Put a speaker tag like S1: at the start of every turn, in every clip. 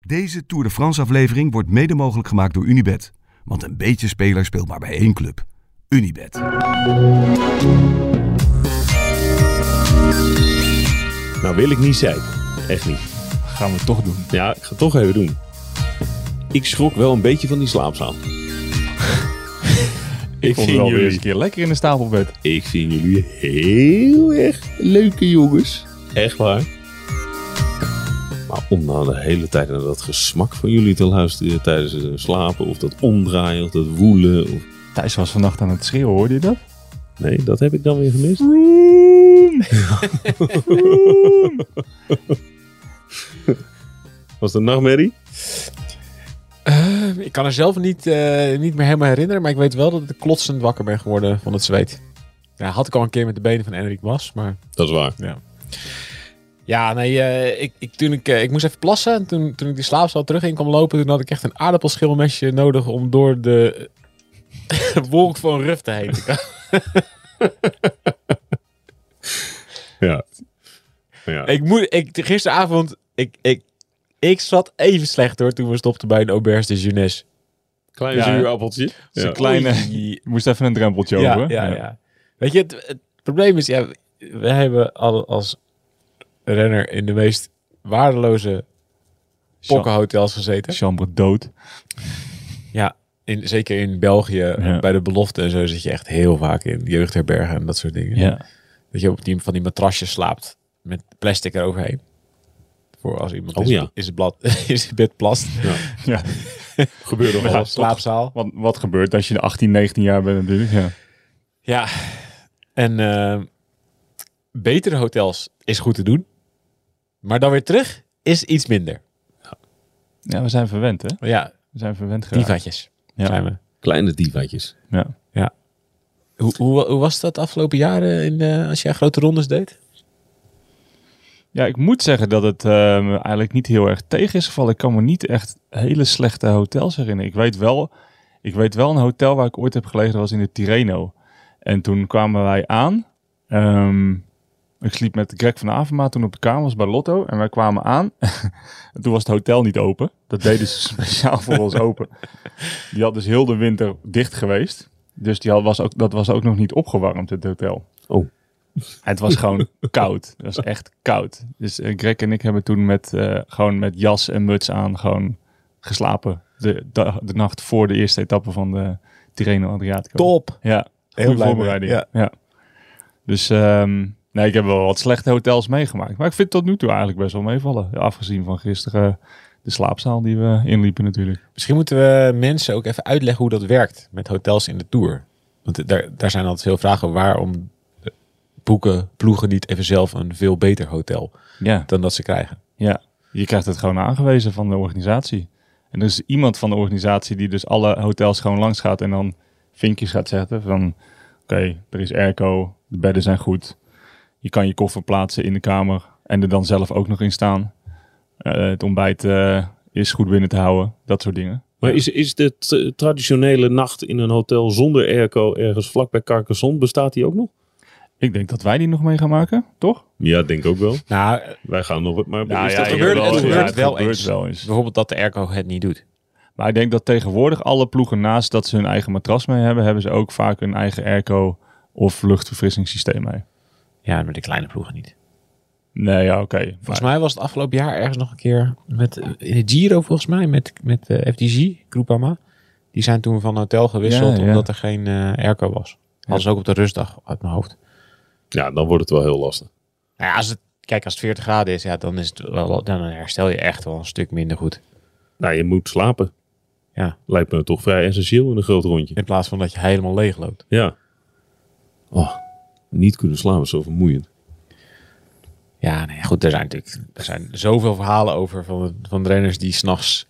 S1: Deze Tour de France aflevering wordt mede mogelijk gemaakt door Unibet. Want een beetje speler speelt maar bij één club. Unibet.
S2: Nou wil ik niet zeiken. Echt niet.
S3: gaan we het toch doen.
S2: Ja, ik ga het toch even doen. Ik schrok wel een beetje van die slaapzaal. ik,
S3: Komt
S2: vind
S3: wel weer eens
S2: jullie,
S3: een keer lekker in de stapelbed.
S2: ik vind jullie heel erg leuke jongens. Echt waar. Maar om nou de hele tijd naar dat gesmak van jullie te luisteren tijdens het slapen. Of dat omdraaien, of dat woelen. Of...
S3: Thijs was vannacht aan het schreeuwen, hoorde je dat?
S2: Nee, dat heb ik dan weer gemist. Was het een nachtmerrie?
S4: Eh, ik kan er zelf niet, eh, niet meer helemaal herinneren, maar ik weet wel dat ik klotsend wakker ben geworden van het zweet. Ja, had ik al een keer met de benen van Enrik was, maar
S2: Dat is waar.
S4: ja, nee, eh, ik, ik, toen ik, eh, ik moest even plassen. En Toen, toen ik die slaapzaal terug in kwam lopen, toen had ik echt een aardappelschilmesje nodig om door de wolk van Rufte heen te komen.
S2: Ja. ja.
S4: ik moet, ik, gisteravond, ik, ik, ik zat even slecht hoor toen we stopten bij een auberge de jeunesse.
S2: Klein
S3: Ja.
S2: zuurappeltje.
S3: is
S2: Ja.
S3: een kleine-
S4: Oei.
S3: Je moest even een drempeltje
S4: ja,
S3: over.
S4: Ja, ja. Weet je, het, het probleem is, ja, we hebben al als renner in de meest waardeloze
S3: Cha-
S4: pokkenhotels gezeten.
S3: Chambre dood.
S4: Ja, in, zeker in België,
S3: Ja.
S4: bij de belofte en zo zit je echt heel vaak in jeugdherbergen en dat soort dingen.
S3: Ja.
S4: Dat je op die, van die matrasjes slaapt met plastic eroverheen. Voor als iemand
S2: Oh
S4: is,
S2: ja.
S4: is, het blad, is het bed plast.
S3: ja.
S2: Gebeurde nog alles, toch?
S4: slaapzaal.
S3: Wat, wat gebeurt als je 18, 19 jaar bent natuurlijk. Ja.
S4: Ja, en eh, betere hotels is goed te doen. Maar dan weer terug is iets minder.
S3: ja, we zijn verwend hè.
S4: Ja,
S3: We zijn verwend geraakt.
S4: divatjes
S3: Ja.
S4: zijn we.
S2: Kleine divaatjes.
S3: Ja.
S4: Hoe, hoe, hoe was dat afgelopen jaren in, eh, als jij grote rondes deed?
S3: ja, ik moet zeggen dat het ehm, eigenlijk niet heel erg tegen is gevallen. Ik kan me niet echt hele slechte hotels herinneren. Ik weet wel, ik weet wel een hotel waar ik ooit heb gelegen, dat was in de Tireno. En toen kwamen wij aan. Ehm, ik sliep met Greg van Avermaat toen op de kamer was bij Lotto. En wij kwamen aan. en toen was het hotel niet open. Dat deden ze speciaal voor ons open. Die had dus heel de winter dicht geweest. Dus die had, was ook, dat was ook nog niet opgewarmd, het hotel.
S2: Oh.
S3: Het was gewoon koud. Het was echt koud. Dus eh, Greg en ik hebben toen met, eh, gewoon met jas en muts aan gewoon geslapen. De, de, de nacht voor de eerste etappe van de Tirreno Adriatico.
S4: Top.
S3: Ja,
S4: Heel
S3: goede
S4: blij mee.
S3: voorbereiding. Ja.
S4: Ja.
S3: Dus ehm, nee, ik heb wel wat slechte hotels meegemaakt. Maar ik vind het tot nu toe eigenlijk best wel meevallen. Afgezien van gisteren eh, de slaapzaal die we inliepen natuurlijk.
S4: Misschien moeten we mensen ook even uitleggen hoe dat werkt met hotels in de Tour. Want daar, daar zijn altijd veel vragen waarom boeken, ploegen niet even zelf een veel beter hotel
S3: Ja.
S4: dan dat ze krijgen.
S3: ja. Je krijgt het gewoon aangewezen van de organisatie. En er is iemand van de organisatie die dus alle hotels gewoon langs gaat en dan vinkjes gaat zetten van... Oké, er is airco, de bedden zijn goed. Je kan je koffer plaatsen in de kamer en er dan zelf ook nog in staan. Eh, het ontbijt eh, is goed binnen te houden, dat soort dingen.
S2: Maar is, is de t- traditionele nacht in een hotel zonder airco ergens vlakbij Carcassonne, bestaat die ook nog?
S3: Ik denk dat wij die nog mee gaan maken, toch?
S2: Ja, denk ook wel.
S4: Nou,
S2: Wij gaan nog... Maar
S4: is dat ja, gebeurd?
S2: wel-
S4: Het gebeurt
S3: ja, het
S4: wel
S3: gebeurt
S4: eens.
S3: wel eens.
S4: bijvoorbeeld dat de airco het niet doet.
S3: Maar ik denk dat tegenwoordig alle ploegen, naast dat ze hun eigen matras mee hebben, hebben ze ook vaak hun eigen airco of luchtverfrissingssysteem mee.
S4: Ja, met de kleine ploegen niet.
S3: Nee, ja, oké. Maar-
S4: Volgens mij was het afgelopen jaar ergens nog een keer met eh, in de Giro volgens mij met, met eh, FDG, Groupama. Die zijn toen van hotel gewisseld
S3: Ja, ja.
S4: omdat er geen eh, airco was. Hadden ze ook op de rustdag uit mijn hoofd.
S2: Ja, dan wordt het wel heel lastig.
S4: Nou ja, als het, kijk, als het 40 graden is, ja, dan, is het wel, wel- dan herstel je echt wel een stuk minder goed.
S2: Nou, je moet slapen.
S4: Ja.
S2: Lijkt me toch vrij essentieel in een groot rondje.
S4: In plaats van dat je helemaal leeg loopt.
S2: Ja. Oh, niet kunnen slapen is zo vermoeiend.
S4: Ja, nee, goed, er zijn natuurlijk er zijn zoveel verhalen over van, van renners die s'nachts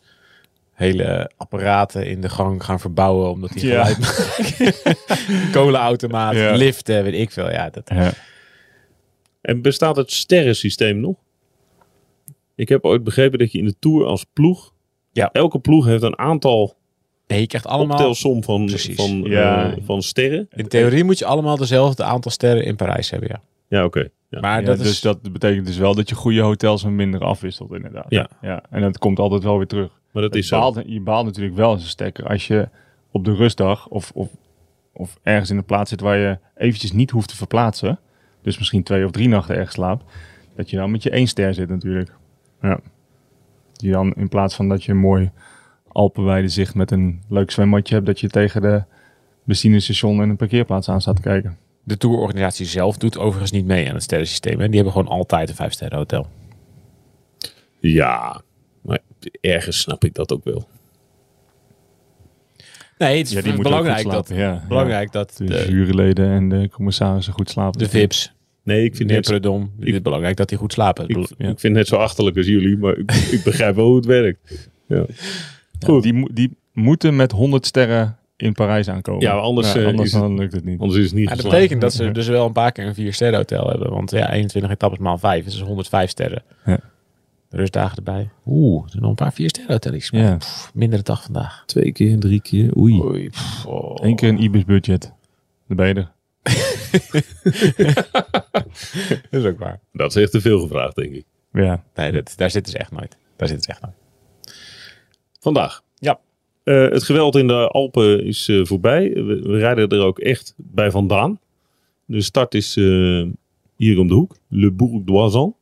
S4: hele apparaten in de gang gaan verbouwen omdat die
S3: Ja.
S4: geluid maken. Kolenautomaat,
S3: Ja.
S4: liften, weet ik veel. Ja, dat,
S3: Ja.
S2: En bestaat het sterrensysteem nog? Ik heb ooit begrepen dat je in de Tour als ploeg...
S4: Ja.
S2: Elke ploeg heeft een aantal
S4: Nee, je krijgt allemaal.
S2: optelsom van,
S4: Precies.
S2: van,
S3: Ja.
S2: eh, van sterren.
S4: In theorie moet je allemaal dezelfde aantal sterren in Parijs hebben, ja.
S2: Ja, oké. Ja.
S4: Maar
S3: Ja,
S4: dat
S3: dus
S4: is...
S3: dat betekent dus wel dat je goede hotels en minder afwisselt, inderdaad.
S2: Ja.
S3: ja. En dat komt altijd wel weer terug.
S2: Maar dat is
S3: je,
S2: zo.
S3: baalt, je baalt natuurlijk wel als een stekker als je op de rustdag of, of, of ergens in een plaats zit waar je eventjes niet hoeft te verplaatsen. Dus misschien twee of drie nachten ergens slaapt. Dat je dan met je één ster zit natuurlijk. Ja. Die dan in plaats van dat je een mooi alpenweide zicht met een leuk zwembadje hebt. Dat je tegen de benzinestation en een parkeerplaats aan staat te kijken.
S4: De tourorganisatie zelf doet overigens niet mee aan het sterrensysteem. Hè? Die hebben gewoon altijd een vijfsterren hotel.
S2: Ja, maar ergens snap ik dat ook wel.
S4: Nee, het is
S3: Ja, die moeten ook
S4: belangrijk,
S3: goed
S4: dat,
S3: slapen, ja. Dus
S4: belangrijk dat
S3: De,
S4: de,
S3: juryleden en de commissarissen goed slapen.
S4: de VIP's,
S2: Nee, ik vind,
S4: meneer
S2: net, zo-
S4: Predom, het is belangrijk dat die goed slapen.
S2: ik,
S4: Ik,
S3: ja.
S2: ik vind het net zo achterlijk als jullie, maar ik, ik begrijp wel hoe het werkt. Goed.
S3: Die, mo- die moeten met 100 sterren in Parijs aankomen.
S2: Ja, anders, eh,
S3: anders
S2: is het-
S3: dan lukt het niet.
S2: Anders is het niet
S4: ja, dat
S2: geslaagd.
S4: betekent dat ze dus wel een paar keer een viersterren hotel hebben. Want ja, 21 etappes maal 5 is dus 105 sterren.
S3: Ja.
S4: Rustdagen erbij. Oeh, er zijn nog een paar viersterren hotels.
S3: Ja.
S4: Mindere dag vandaag.
S2: Twee keer, drie keer, oei.
S4: Oei, pff, oh.
S3: Eén keer een IBIS-budget. De beide.
S4: Dat is ook waar.
S2: Dat is echt te veel gevraagd, denk ik.
S3: Ja.
S4: Nee, dat, daar zitten ze echt nooit. Daar zitten ze echt nooit.
S2: Vandaag.
S4: Ja.
S2: Eh, het geweld in de Alpen is eh, voorbij. We, we rijden er ook echt bij vandaan. De start is eh, hier om de hoek. Le Bourg d'Oisan.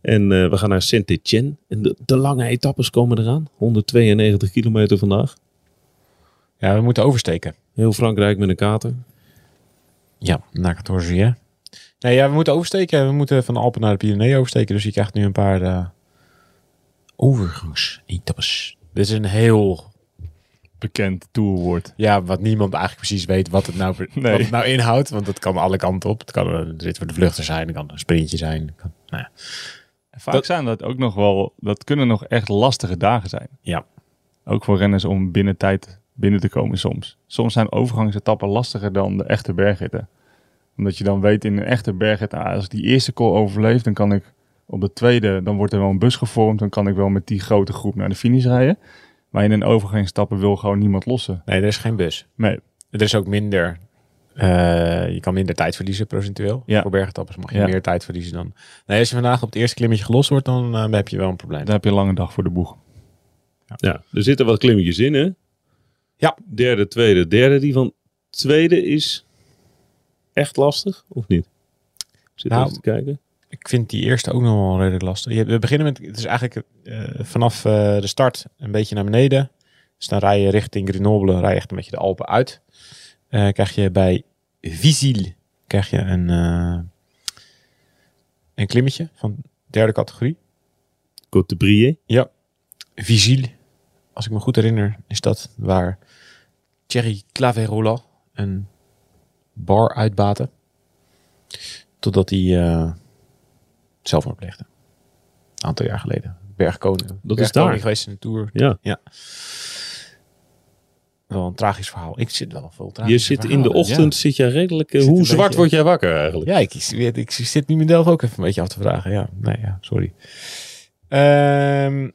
S2: En eh, we gaan naar Saint-Étienne. En de, de lange etappes komen eraan. 192 kilometer vandaag.
S4: Ja, we moeten oversteken.
S2: Heel Frankrijk met een kater.
S4: Ja, naar 14 hè? Nee, ja, we moeten oversteken. We moeten van de Alpen naar de Pyreneeën oversteken. Dus je krijgt nu een paar eh overgangsetappes. Dit is een heel...
S3: Bekend tourwoord.
S4: Ja, wat niemand eigenlijk precies weet wat het nou,
S3: Nee.
S4: wat het nou inhoudt. Want het kan alle kanten op. Het kan een rit voor de vluchten zijn. Het kan een sprintje zijn. het Kan, nou ja.
S3: Vaak zijn dat ook nog wel... Dat kunnen nog echt lastige dagen zijn.
S4: Ja.
S3: Ook voor renners om binnen tijd binnen te komen soms. Soms zijn overgangsetappen lastiger dan de echte bergritten. Omdat je dan weet in een echte bergrit... ah, als ik die eerste call overleef, dan kan ik op de tweede... Dan wordt er wel een bus gevormd. Dan kan ik wel met die grote groep naar de finish rijden. Maar in een overgangsetappe wil gewoon niemand lossen.
S4: Nee, er is geen bus.
S3: Nee.
S4: Er is ook minder. eh, je kan minder tijd verliezen procentueel.
S3: Ja.
S4: Voor bergetappers mag je
S3: Ja.
S4: meer tijd verliezen dan. Nee, als je vandaag op het eerste klimmetje gelost wordt, dan eh, heb je wel een probleem.
S3: Daar heb je een lange dag voor de boeg.
S2: Ja, er zitten wat klimmetjes in, hè?
S4: Ja.
S2: Derde, tweede, derde. Die van tweede is echt lastig, of niet? Ik Zit
S4: Nou,
S2: even te kijken.
S4: Ik vind die eerste ook nog wel redelijk lastig. Je, we beginnen met, het is eigenlijk eh, vanaf eh, de start een beetje naar beneden. Dus dan rij je richting Grenoble, rij je echt een beetje de Alpen uit. Eh, krijg je bij Visil krijg je een, eh, een klimmetje van derde categorie.
S2: Côte de Briey.
S4: Ja. Visil, als ik me goed herinner, is dat waar Thierry Claverola een bar uitbaten. Totdat hij eh zelfmoord pleegde. Een aantal jaar geleden. Bergkoning.
S2: is
S4: Bergkoning
S2: daar.
S4: geweest in de Tour.
S2: Ja.
S4: Wel een tragisch verhaal. Ik zit wel veel tragisch
S2: Je zit in de ochtend, zit jij redelijk... eh,
S4: Ik zit
S2: hoe
S4: een
S2: zwart
S4: beetje-
S2: word jij wakker eigenlijk?
S4: Ja, ik, ik, ik zit nu mezelf ook even een beetje af te vragen. Ja, nee, ja, sorry. Ehm,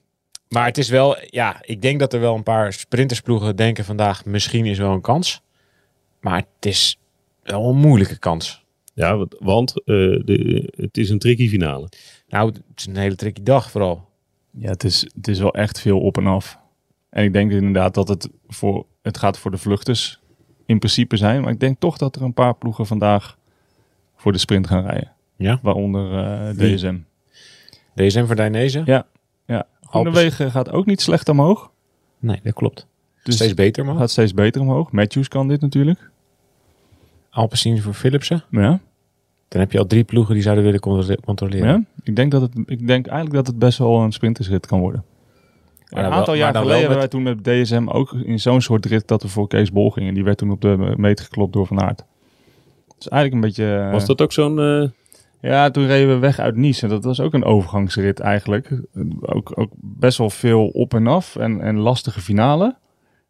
S4: maar het is wel, ja, ik denk dat er wel een paar sprintersploegen denken vandaag, misschien is wel een kans. Maar het is wel een moeilijke kans.
S2: Ja, want, want eh, de, het is een tricky finale.
S4: Nou, het is een hele tricky dag vooral.
S3: Ja, het is, het is wel echt veel op en af. En ik denk inderdaad dat het voor het gaat voor de vluchters in principe zijn. Maar ik denk toch dat er een paar ploegen vandaag voor de sprint gaan rijden.
S4: Ja.
S3: Waaronder eh, DSM.
S4: DSM voor Dainese?
S3: Ja. ja. Groenewegen gaat ook niet slecht omhoog.
S4: Nee, dat klopt.
S3: Dus
S4: Steeds beter, man.
S3: gaat steeds beter omhoog. Matthews kan dit natuurlijk.
S4: Alpecin voor Philipsen.
S3: Ja.
S4: Dan heb je al drie ploegen die zouden willen contro- controleren.
S3: Ja. Ik, denk dat het, ik denk eigenlijk dat het best wel een sprintersrit kan worden.
S4: Maar
S3: een
S4: dan
S3: aantal
S4: wel-
S3: jaar
S4: maar dan
S3: geleden
S4: wel
S3: hebben wij
S4: met-
S3: toen met DSM ook in zo'n soort rit dat we voor Kees Bol gingen. Die werd toen op de meet geklopt door Van Aert. Dus eigenlijk een beetje... eh,
S2: Was dat ook zo'n... eh,
S3: Ja, toen reden we weg uit Nice. En dat was ook een overgangsrit eigenlijk. Ook, ook best wel veel op en af en, en lastige finale.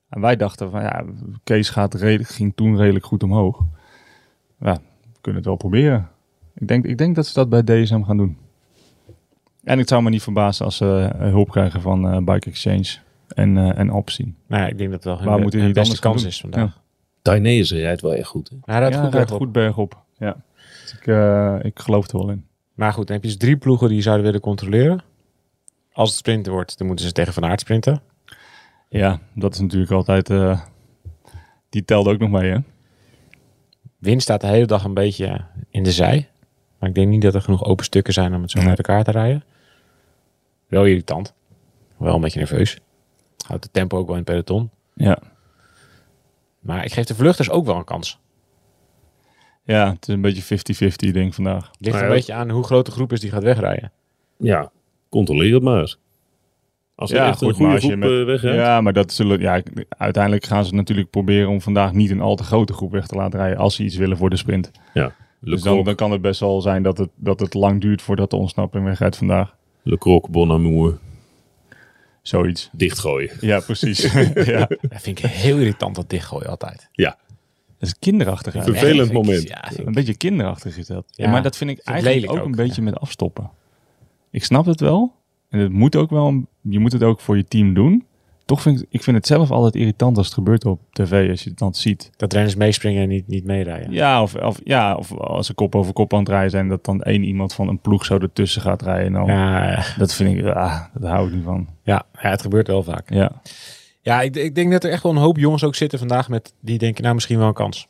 S3: En wij dachten van ja, Kees gaat redelijk, ging toen redelijk goed omhoog. Ja, we kunnen het wel proberen. Ik denk, ik denk dat ze dat bij DSM gaan doen. En het zou me niet verbazen als ze eh, hulp krijgen van eh, Bike Exchange en, eh en Alpecin.
S4: Nou, ja, ik denk dat wel
S3: Waar
S4: hun-
S3: moeten
S4: hun
S3: die het anders
S4: beste
S3: gaan
S4: kans
S3: doen?
S4: is vandaag. Nou,
S2: Dainese rijdt wel echt goed, hè?
S4: Hij rijdt
S3: ja,
S4: goed,
S3: rijdt
S4: bergop.
S3: goed bergop. Ja. Dus ik, eh, ik geloof er wel in.
S4: Maar goed, dan heb je dus drie ploegen die je zouden willen controleren. Als het sprinten wordt, dan moeten ze tegen Van Aert sprinten.
S3: Ja, dat is natuurlijk altijd... eh, die telde ook nog mee, hè?
S4: Win staat de hele dag een beetje in de zij. Maar ik denk niet dat er genoeg open stukken zijn om het zo
S3: Nee.
S4: uit elkaar te rijden. Wel irritant. Wel een beetje nerveus. Houdt het tempo ook wel in het peloton.
S3: Ja.
S4: Maar ik geef de vluchters ook wel een kans.
S3: Ja, het is een beetje 50-50 ding vandaag.
S4: Ligt
S2: Nou
S4: een
S2: ja.
S4: beetje aan hoe groot de groep is die gaat wegrijden.
S2: Ja, controleer het maar eens. Als er
S3: Ja,
S2: echt
S3: goed,
S2: een goede
S3: maar als je
S2: groep
S3: met-
S2: eh, wegrijdt.
S3: Ja, maar dat zullen, ja, uiteindelijk gaan ze natuurlijk proberen om vandaag niet een al te grote groep weg te laten rijden als ze iets willen voor de sprint.
S2: Le,
S3: dus dan,
S2: Croc,
S3: dan kan het best wel zijn dat het, dat het lang duurt voordat de ontsnapping wegrijdt vandaag.
S2: Le Croc, Bonamour,
S3: Zoiets.
S2: dichtgooien.
S3: Ja, precies. ja.
S4: Dat vind ik heel irritant, dat dichtgooien altijd.
S3: Dat is kinderachtig.
S2: Een
S3: eigenlijk.
S2: vervelend
S4: vind ik-
S2: moment.
S4: ja, vind ik-
S3: Een beetje kinderachtig is dat.
S4: Ja.
S3: maar dat vind ik
S4: het
S3: eigenlijk ook,
S4: lelijk
S3: een
S4: ook,
S3: beetje met afstoppen. Ik snap het wel. En het moet ook wel. een- Je moet het ook voor je team doen. Toch vind ik, ik vind het zelf altijd irritant als het gebeurt op tv. Als je het dan ziet.
S4: Dat renners meespringen en niet, niet meerijden.
S3: Ja, of, of, ja, of als ze kop over kop aan het rijden zijn, dat dan één iemand van een ploeg zo ertussen gaat rijden. en dan
S4: Ja, ja.
S3: Dat vind ik, ah, dat hou ik niet van.
S4: ja, het gebeurt wel vaak.
S3: Ja,
S4: Ja, ik, ik denk dat er echt wel een hoop jongens ook zitten vandaag met die denken, nou misschien wel een kans.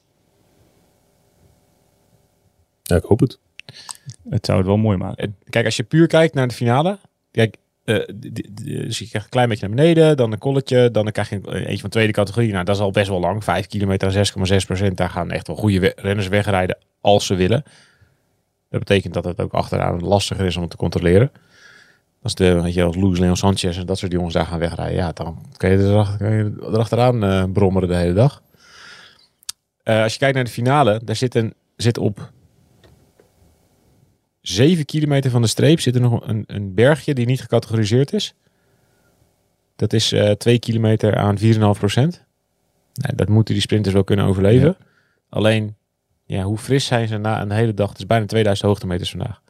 S2: Ja, ik hoop het.
S3: het zou het wel mooi maken.
S4: Eh, Kijk, als je puur kijkt naar de finale, kijk, eh, d- d- d- dus je krijgt een klein beetje naar beneden, dan een kolletje, dan krijg je een- eentje van tweede categorie. Nou, dat is al best wel lang, 5 kilometer aan 6,6 procent. Daar gaan echt wel goede we- renners wegrijden als ze willen. Dat betekent dat het ook achteraan lastiger is om het te controleren. Als de, weet je, als Luis Leon Sanchez en dat soort jongens daar gaan wegrijden, ja, dan kan je erachter- kan je erachteraan eh brommeren de hele dag. Eh, als je kijkt naar de finale, daar zit, een, zit op 7 kilometer van de streep zit er nog een, een bergje die niet gecategoriseerd is. Dat is eh 2 kilometer aan 4,5 procent. Nou, dat moeten die sprinters wel kunnen overleven. Alleen, ja, hoe fris zijn ze na een hele dag? Het is bijna 2000 hoogtemeters vandaag.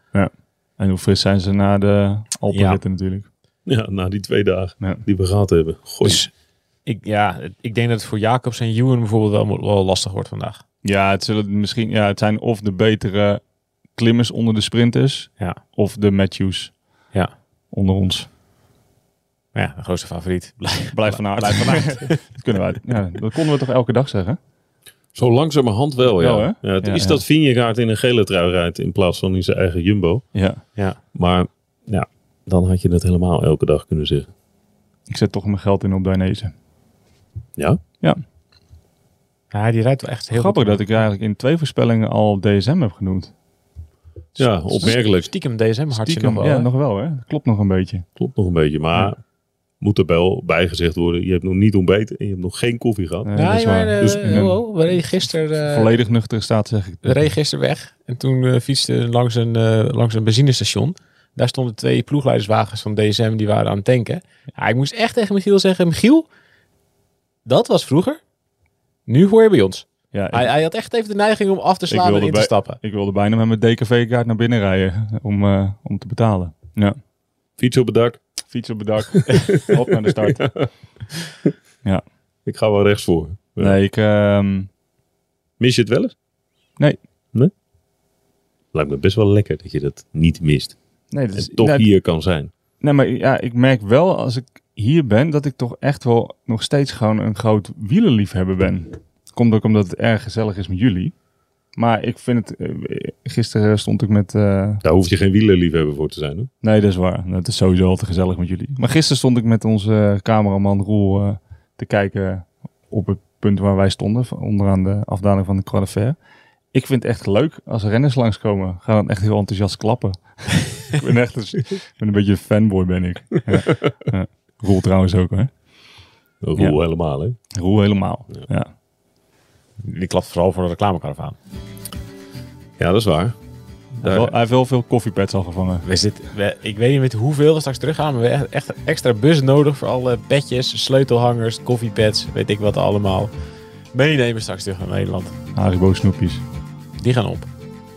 S3: En hoe fris zijn ze na de Alpenritten natuurlijk.
S2: Ja, na die twee dagen
S3: Ja.
S2: die we gehad hebben. Gooi.
S4: Dus ik, ja, het- ik denk dat het voor Jacobs en Ewan bijvoorbeeld wel, wel lastig wordt vandaag.
S3: Ja, het, zullen misschien, ja, het zijn of de betere klimmers onder de sprinters,
S4: Ja.
S3: of de Matthews
S4: Ja.
S3: onder ons.
S4: Maar ja, de grootste favoriet.
S3: Blijf van aard. dat kunnen wij. Ja, dat konden we toch elke dag zeggen?
S2: Zo langzamerhand wel, ja.
S3: Wel, hè?
S2: Ja, het
S3: Ja,
S2: is
S3: ja.
S2: dat Vingegaard in een gele trui rijdt in plaats van in zijn eigen Jumbo.
S3: Ja.
S4: Ja.
S2: Maar ja, dan had je het helemaal elke dag kunnen zeggen.
S3: Ik zet toch mijn geld in op Dainese.
S2: Ja?
S4: ja, die rijdt wel echt heel
S3: Grappig
S4: goed.
S3: dat ik eigenlijk in twee voorspellingen al DSM heb genoemd. Dus-
S2: Ja, opmerkelijk.
S4: Stiekem DSM hartje
S3: Stiekem,
S4: nog wel.
S3: ja,
S4: hè?
S3: nog wel hè. Dat klopt nog een beetje.
S2: Klopt nog een beetje, maar moet er wel bijgezegd worden. Je hebt nog niet ontbeten en je hebt nog geen koffie gehad.
S3: Nee,
S4: Ja,
S3: dat is
S4: maar,
S3: waar.
S4: eh,
S3: Dus in een
S4: oh, oh, we reden gisteren... eh,
S3: volledig nuchtere staat zeg ik.
S4: We reden gisteren weg en toen eh, fietste langs een, eh, langs een benzinestation. Daar stonden twee ploegleiderswagens van DSM die waren aan het tanken. Ja, ik moest echt tegen Michiel zeggen, Michiel, dat was vroeger. Nu hoor je bij ons.
S3: Ja,
S4: Hij,
S3: ik,
S4: hij had echt even de neiging om af te slaan en
S3: wilde
S4: in te
S3: bij-
S4: stappen.
S3: ik wilde bijna met mijn DKV-kaart naar binnen rijden om, eh, om te betalen. Ja,
S2: Fiets op het dak,
S3: fiets op het dak, op naar de start.
S2: ik ga wel rechts voor. Ja.
S3: Nee, ik, ehm,
S2: Mis je het wel eens?
S3: Nee.
S2: Nee? Lijkt me best wel lekker dat je dat niet mist.
S3: nee, dat
S2: En
S3: is,
S2: toch
S3: nee,
S2: hier kan zijn.
S3: nee, maar ja, ik merk wel als ik hier ben dat ik toch echt wel nog steeds gewoon een groot wielerliefhebber ben. Komt ook omdat het erg gezellig is met jullie. Maar ik vind het, eh, gisteren stond ik met, eh,
S2: Daar hoef je geen wielerliefhebber voor te zijn. Hoor.
S3: Nee, dat is waar. Het is sowieso altijd gezellig met jullie. Maar gisteren stond ik met onze eh, cameraman Roel eh, te kijken op het punt waar wij stonden. van- Onderaan de afdaling van de Croix de Fer. Ik vind het echt leuk als er renners langskomen. Gaan dan echt heel enthousiast klappen. ik ben echt een, ik ben een beetje een fanboy ben ik. Ja. Ja. Roel trouwens ook hè.
S2: Roel helemaal, hè?
S3: Roel helemaal. Ja.
S4: Die klapt vooral voor de reclamekaravaan.
S2: Ja, dat is waar.
S3: Hij, heeft wel, hij heeft wel veel koffiepads al gevangen.
S4: We zitten, we- ik weet niet met hoeveel we straks teruggaan, maar we hebben echt een extra bus nodig voor alle bedjes, sleutelhangers, koffiepads, weet ik wat allemaal. Meenemen straks terug naar Nederland.
S3: Haribo snoepjes.
S4: Die gaan op.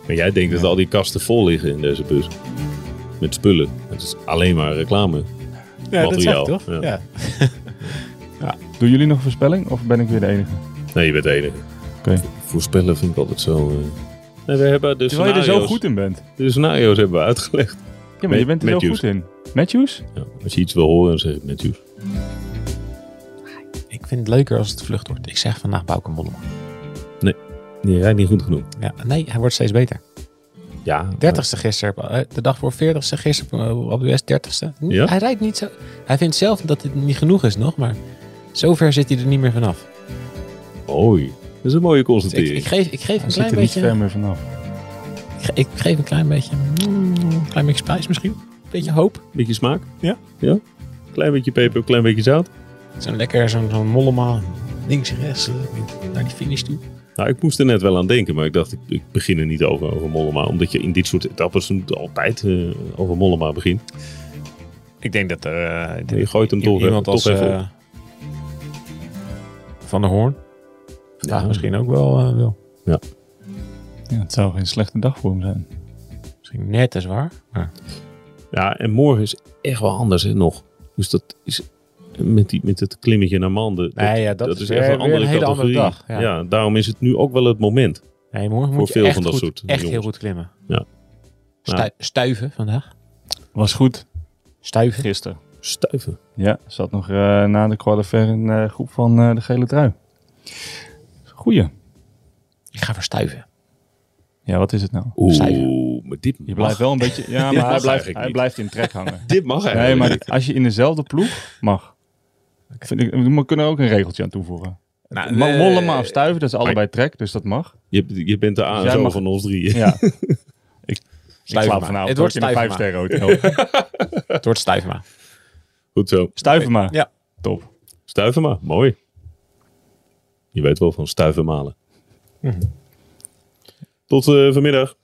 S2: Maar jij denkt dat al die kasten vol liggen in deze bus. Met spullen. Het is alleen maar reclame.
S4: Ja,
S2: dat Materiaal, zeg ik toch? ja.
S4: Ja.
S3: Doen jullie nog een voorspelling of ben ik weer de enige?
S2: Nee, je bent de enige.
S3: Oké.
S2: Voorspellen vind ik altijd zo... eh, En we hebben de
S3: Terwijl je er
S2: scenario's,
S3: zo goed in bent.
S2: de scenario's hebben we uitgelegd.
S3: Ja, maar je bent er zo
S2: Matthews.
S3: goed in. Matthews?
S2: Ja, als je iets wil horen, dan zeg ik Matthews.
S4: Ik vind het leuker als het vlucht wordt. Ik zeg vandaag Bouke Mollema.
S2: Nee, jij niet goed genoeg.
S4: Ja, nee, hij wordt steeds beter.
S2: Ja,
S4: 30ste gisteren, eh, de dag voor 40ste gisteren eh, op de US 30ste. Hm,
S2: Ja?
S4: Hij rijdt niet zo. Hij vindt zelf dat dit niet genoeg is nog, maar zover zit hij er niet meer vanaf.
S2: Mooi. Dat is een mooie
S4: Dus ik,
S2: constatering.
S4: ik geef, ik geef
S3: Hij
S4: een
S3: zit
S4: klein
S3: er niet
S4: beetje.
S3: ver meer vanaf.
S4: Ik, ge- ik geef een klein beetje. mm, een klein beetje spijs misschien. Een beetje hoop.
S2: Beetje smaak.
S4: Ja.
S2: ja. Klein beetje peper, klein beetje zout.
S4: Zo'n lekker, zo'n zo'n mollema. Links en rechts eh, naar die finish toe.
S2: Nou, ik moest er net wel aan denken, maar ik dacht, ik, ik begin er niet over, over Mollema. Omdat je in dit soort etappes altijd eh, over Mollema begint.
S4: Ik denk dat er.
S2: Maar je gooit hem toch,
S4: iemand
S2: toch
S4: als.
S2: even op.
S4: eh, van der Hoorn. Vandaag
S2: Ja.
S4: misschien ook wel eh, wil.
S3: Ja, het zou geen slechte dag voor hem zijn.
S4: Misschien net is waar.
S2: Ja, en morgen is echt wel anders hè, nog. Dus dat is met, die, met het klimmetje naar Manden. dat-
S4: Nee, ja, dat is weer- weer een hele andere dag,
S2: Ja.
S4: ja.
S2: daarom is het nu ook wel het moment.
S4: Nee, morgen moet
S2: Voor
S4: je
S2: veel
S4: echt
S2: van dat
S4: goed,
S2: soort
S4: Echt
S2: jongens.
S4: heel goed klimmen.
S2: Ja.
S4: Stu- Stuiven vandaag.
S3: Was goed
S4: Stuiven.
S3: gisteren.
S2: Stuiven.
S3: Ja, zat nog eh, na de qualifier in de groep van eh, de gele trui. Goeie.
S4: Ik ga voor stuiven.
S3: Ja, wat is het nou?
S2: Oeh, maar dit
S3: Je
S2: mag,
S3: blijft wel een beetje... Ja, maar
S2: Ja,
S3: hij,
S2: dat
S3: blijft,
S2: zeg ik
S3: hij
S2: niet.
S3: blijft in trek hangen.
S2: dit mag eigenlijk
S3: nee, maar
S2: niet.
S3: als je in dezelfde ploeg mag. Vind ik, we kunnen er ook een regeltje aan toevoegen.
S4: Nou,
S3: Mo-
S4: eh,
S3: Mollema of Stuiven, dat is allebei trek, dus dat mag.
S2: Je, je bent de ASO
S3: jij mag-
S2: van ons drieën.
S3: Ja. ik
S4: Stuiven
S3: slaap
S4: maar.
S3: vanavond
S4: Het
S3: het
S4: wordt
S3: wordt in een
S4: stuiven
S3: vijfsterren hotel.
S4: Het wordt stuiven maar.
S2: Goed zo.
S3: Stuiven maar.
S4: Ja.
S3: Top.
S2: Stuiven maar, mooi. Je weet wel van stuiven malen. Tot eh, vanmiddag.